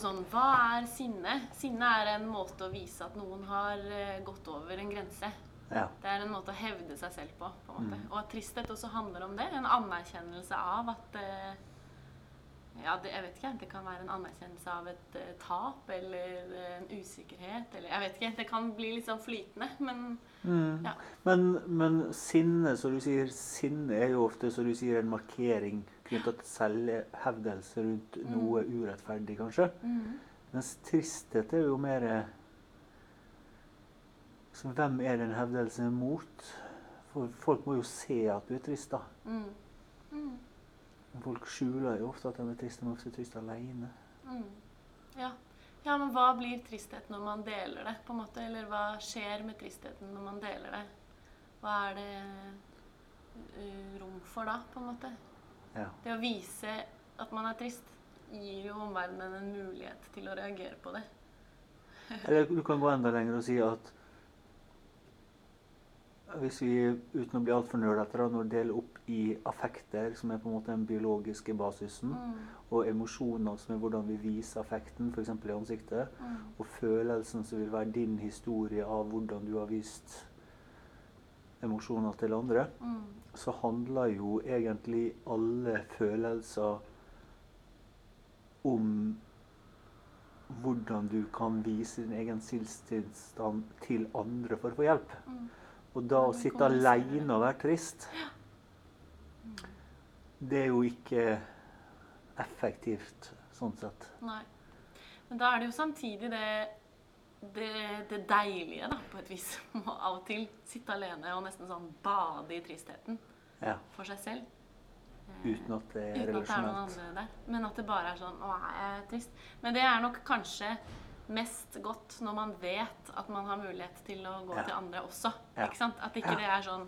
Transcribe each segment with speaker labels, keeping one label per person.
Speaker 1: Sånn, hva er sinne? Sinne er en måte å vise at noen har eh, gått over en grense.
Speaker 2: Ja.
Speaker 1: Det er en måte å hevde seg selv på. på en måte. Og at tristhet også handler om det. En anerkjennelse av at eh, Ja, det, jeg vet ikke. Det kan være en anerkjennelse av et eh, tap eller eh, en usikkerhet eller Jeg vet ikke. Det kan bli litt sånn flytende, men
Speaker 2: Mm.
Speaker 1: ja.
Speaker 2: Men, men sinne, som du sier, sinne er jo ofte som du sier, en markering knyttet til selvhevdelse rundt noe urettferdig, kanskje.
Speaker 1: Mhm.
Speaker 2: Mens tristhet er jo mer eh, så Hvem er den hevdelsen mot? For folk må jo se at du er trist, da.
Speaker 1: Mm. Mm.
Speaker 2: Men folk skjuler jo ofte at de er triste, men ofte er trist alene.
Speaker 1: Mm. Ja. ja, men hva blir tristhet når man deler det, på en måte? Eller hva skjer med tristheten når man deler det? Hva er det eh, rom for da, på en måte?
Speaker 2: Ja.
Speaker 1: Det å vise at man er trist, gir jo omverdenen en mulighet til å reagere på det.
Speaker 2: Eller du kan gå enda lenger og si at hvis vi, uten å bli altfor nølete, da, når vi deler opp i affekter, som er på en måte den biologiske basisen,
Speaker 1: Mm.
Speaker 2: og emosjoner, som er hvordan vi viser affekten, f.eks. i ansiktet,
Speaker 1: Mm.
Speaker 2: og følelsen som vil være din historie av hvordan du har vist emosjoner til andre,
Speaker 1: Mm.
Speaker 2: så handler jo egentlig alle følelser om hvordan du kan vise din egen sinnstilstand til andre for å få hjelp.
Speaker 1: Mm.
Speaker 2: Og da å
Speaker 1: Hvordan
Speaker 2: sitte
Speaker 1: kommuniserer du?
Speaker 2: aleine og være trist, det er jo ikke effektivt sånn sett.
Speaker 1: Nei. Men da er det jo samtidig det, det, det deilige, da, på et vis. Å av og til sitte alene og nesten sånn bade i tristheten
Speaker 2: Ja,
Speaker 1: for seg selv. Eh,
Speaker 2: uten at det er
Speaker 1: Uten at det er noen
Speaker 2: relasjonelt.
Speaker 1: andre der. Men at det bare er sånn Å, jeg er trist. Men det er nok kanskje mest godt når man vet at man har mulighet til å gå
Speaker 2: Ja.
Speaker 1: til andre også.
Speaker 2: Ja.
Speaker 1: Ikke sant? At ikke det er sånn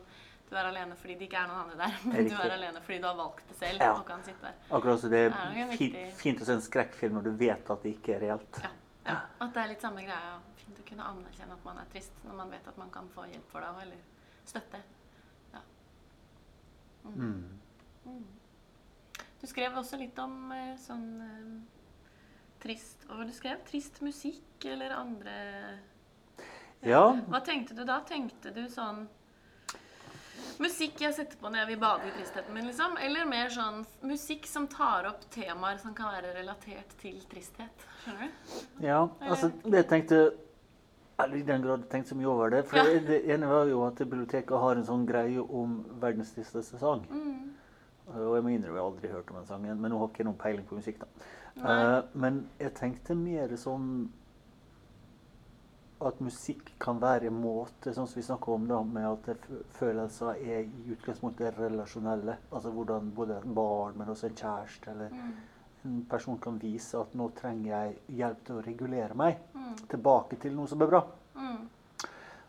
Speaker 1: du er alene fordi det ikke er noen andre der, men
Speaker 2: Riktig.
Speaker 1: du er alene fordi du har valgt det selv.
Speaker 2: Ja.
Speaker 1: og kan sitte der.
Speaker 2: Akkurat som det
Speaker 1: Det er nok
Speaker 2: er
Speaker 1: en
Speaker 2: fint,
Speaker 1: viktig-
Speaker 2: fint å se en skrekkfilm når du vet at det ikke er reelt.
Speaker 1: Ja. Ja. At det er litt samme greia. Fint å kunne anerkjenne at man er trist når man vet at man kan få hjelp for det òg, eller støtte.
Speaker 2: Mm.
Speaker 1: Du skrev også litt om eh, sånn eh, trist Hva var det du skrev? Trist musikk eller andre
Speaker 2: Ja,
Speaker 1: Hva tenkte du da? Tenkte du sånn Musikk jeg setter på når jeg vil bade i tristheten min, liksom? Eller mer sånn musikk som tar opp temaer som kan være relatert til tristhet? Skjønner du?
Speaker 2: Ja,
Speaker 1: Eh,
Speaker 2: altså det jeg tenkte eller I den grad jeg tenkte så mye over det. For
Speaker 1: Ja.
Speaker 2: det ene var jo at biblioteket har en sånn greie om verdens tristeste sang.
Speaker 1: Mm,
Speaker 2: Og jeg må innrømme jeg har aldri hørt om den sangen, men nå har ikke jeg noen peiling på musikk, da.
Speaker 1: Nei.
Speaker 2: Eh, men jeg tenkte mer sånn at musikk kan være en måte, sånn som vi snakker om da, med at det f- følelser er i utgangspunktet relasjonelle. Altså hvordan både et barn, men også en kjæreste eller
Speaker 1: mm,
Speaker 2: en person kan vise at nå trenger jeg hjelp til å regulere meg. Tilbake til noe som er bra.
Speaker 1: Mm.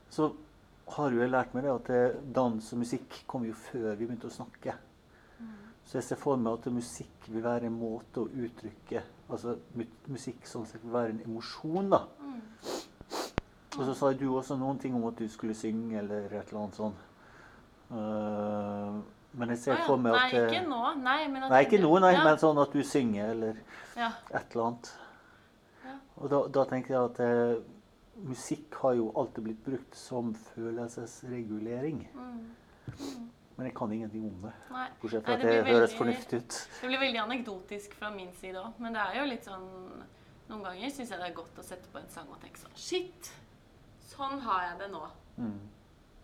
Speaker 2: Så har jo jeg lært meg det at eh, dans og musikk kom jo før vi begynte å snakke.
Speaker 1: Mm.
Speaker 2: Så jeg ser for meg at musikk vil være en måte å uttrykke Altså mu- musikk sånn sett vil være en emosjon, da.
Speaker 1: mm.
Speaker 2: Og så sa du også noen ting om at du skulle synge eller et eller annet sånn. Eh, men jeg ser
Speaker 1: Å ja.
Speaker 2: for meg at
Speaker 1: Nei,
Speaker 2: eh,
Speaker 1: ikke nå. Nei, men at
Speaker 2: Nei, ikke noe, nei,
Speaker 1: ja.
Speaker 2: men sånn at du synger eller
Speaker 1: ja.
Speaker 2: et eller annet.
Speaker 1: Ja.
Speaker 2: Og da, da tenker jeg at eh, musikk har jo alltid blitt brukt som følelsesregulering.
Speaker 1: Mm.
Speaker 2: Men jeg kan ingenting om det.
Speaker 1: Nei. Nei,
Speaker 2: Bortsett fra at det,
Speaker 1: blir
Speaker 2: høres
Speaker 1: veldig-
Speaker 2: fornuftig ut.
Speaker 1: Det blir veldig anekdotisk fra min side òg, men det er jo litt sånn Noen ganger syns jeg det er godt å sette på en sang og tenke sånn Shit! Sånn har jeg det nå.
Speaker 2: Mm.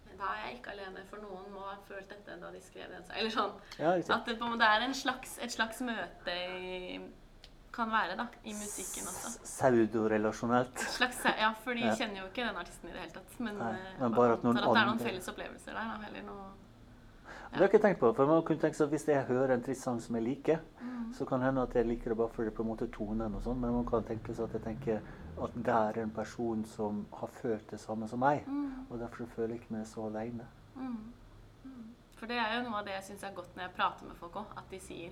Speaker 1: Men Da er jeg ikke alene, for noen må ha følt dette da de skrev den sangen. Eller sånn.
Speaker 2: Ja, riktig.
Speaker 1: At det på en måte er en slags, et slags møte i Kan være, da. I musikken også.
Speaker 2: S- Pseudorelasjonelt.
Speaker 1: Et slags, ja, for de
Speaker 2: Ja.
Speaker 1: kjenner jo ikke den artisten i det hele tatt. Men,
Speaker 2: Nei,
Speaker 1: eh,
Speaker 2: men
Speaker 1: jeg
Speaker 2: bare at noen
Speaker 1: antar at det er noen
Speaker 2: andre-
Speaker 1: felles opplevelser der, da. Eller noe
Speaker 2: Det har jeg ikke tenkt på. For man kunne tenke seg at Hvis jeg hører en trist sang som jeg liker,
Speaker 1: Mm.
Speaker 2: så kan det hende at jeg liker det bare fordi det på en måte er tonen og sånn, men man kan tenke seg at jeg tenker at det er en person som har følt det samme som meg.
Speaker 1: Mm.
Speaker 2: Og derfor føler jeg ikke meg så aleine.
Speaker 1: Mm. For det er jo noe av det jeg syns er godt når jeg prater med folk òg. At de sier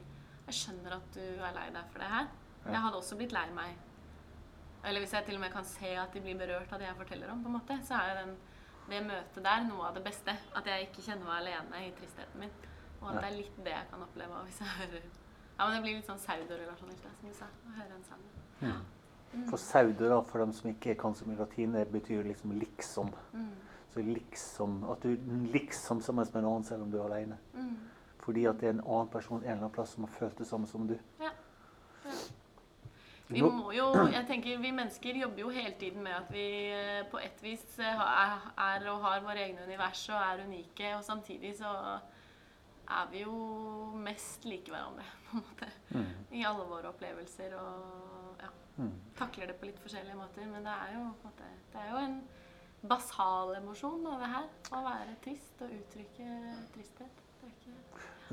Speaker 1: 'Jeg skjønner at du er lei deg for det her'.
Speaker 2: Ja.
Speaker 1: Jeg hadde også blitt lei meg. Eller hvis jeg til og med kan se at de blir berørt av det jeg forteller om, på en måte, så er jo den, det møtet der noe av det beste. At jeg ikke kjenner meg alene i tristheten min. Og at
Speaker 2: Ja.
Speaker 1: det er litt det jeg kan oppleve hvis jeg hører Ja, men det blir litt sånn pseudorelasjonelt, da, som du sa. Å høre en sang. Ja. Mm.
Speaker 2: For saudo, da, for dem som ikke kan så mye latin, det betyr liksom liksom.
Speaker 1: Mm.
Speaker 2: Så liksom At du liksom sammen med en annen selv om du er alene.
Speaker 1: Mm.
Speaker 2: Fordi at det er en annen person en eller annen plass som har følt det samme som du.
Speaker 1: Ja. ja. Vi
Speaker 2: Nå-
Speaker 1: må jo, jeg tenker Vi mennesker jobber jo hele tiden med at vi eh, på et vis eh, ha- er og har våre egne univers og er unike, og samtidig så er vi jo mest like hverandre, på en måte.
Speaker 2: Mm.
Speaker 1: I alle våre opplevelser og ja,
Speaker 2: Mm.
Speaker 1: takler det på litt forskjellige måter. Men det er jo, på en, måte, det er jo en basal emosjon, da, det her. Å være trist og uttrykke tristhet. Det er ikke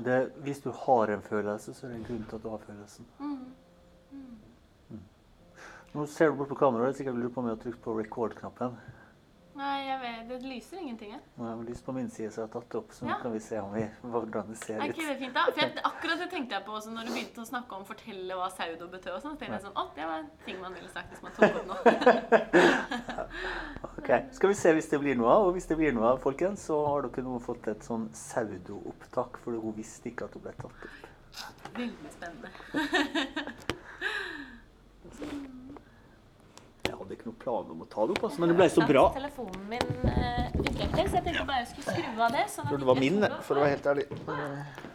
Speaker 2: Det, hvis du har en følelse, så er det en grunn til at du har følelsen.
Speaker 1: mm. Mm.
Speaker 2: Nå ser du bort på kameraet, sikkert lurer på om jeg har trykt på record-knappen.
Speaker 1: Nei, jeg vet, det lyser ingenting, jeg.
Speaker 2: Nå har jeg lyst på min side, så jeg har tatt det opp. Så nå
Speaker 1: Ja.
Speaker 2: kan vi se om vi, hvordan det ser
Speaker 1: Er
Speaker 2: ut.
Speaker 1: ikke det fint, da? For jeg, akkurat det tenkte jeg på også når du begynte å snakke om fortelle hva saudo betød og sånn. Så tenkte jeg sånn, å, det var en ting man ville sagt hvis man tok opp nå.
Speaker 2: Ok, Skal vi se hvis det blir noe av. Og hvis det blir noe av, folkens, så har dere nå fått et sånn pseudoopptak, for hun visste ikke at hun ble tatt opp.
Speaker 1: Veldig spennende.
Speaker 2: Jeg hadde ikke noen plan om å ta det opp, altså, men det ble så bra.
Speaker 1: Telefonen min eh, vibrerte, så jeg tenkte bare jeg skulle skru av det. Sånn at
Speaker 2: Jeg tror det var
Speaker 1: ikke
Speaker 2: min,
Speaker 1: sola-
Speaker 2: for å være helt ærlig.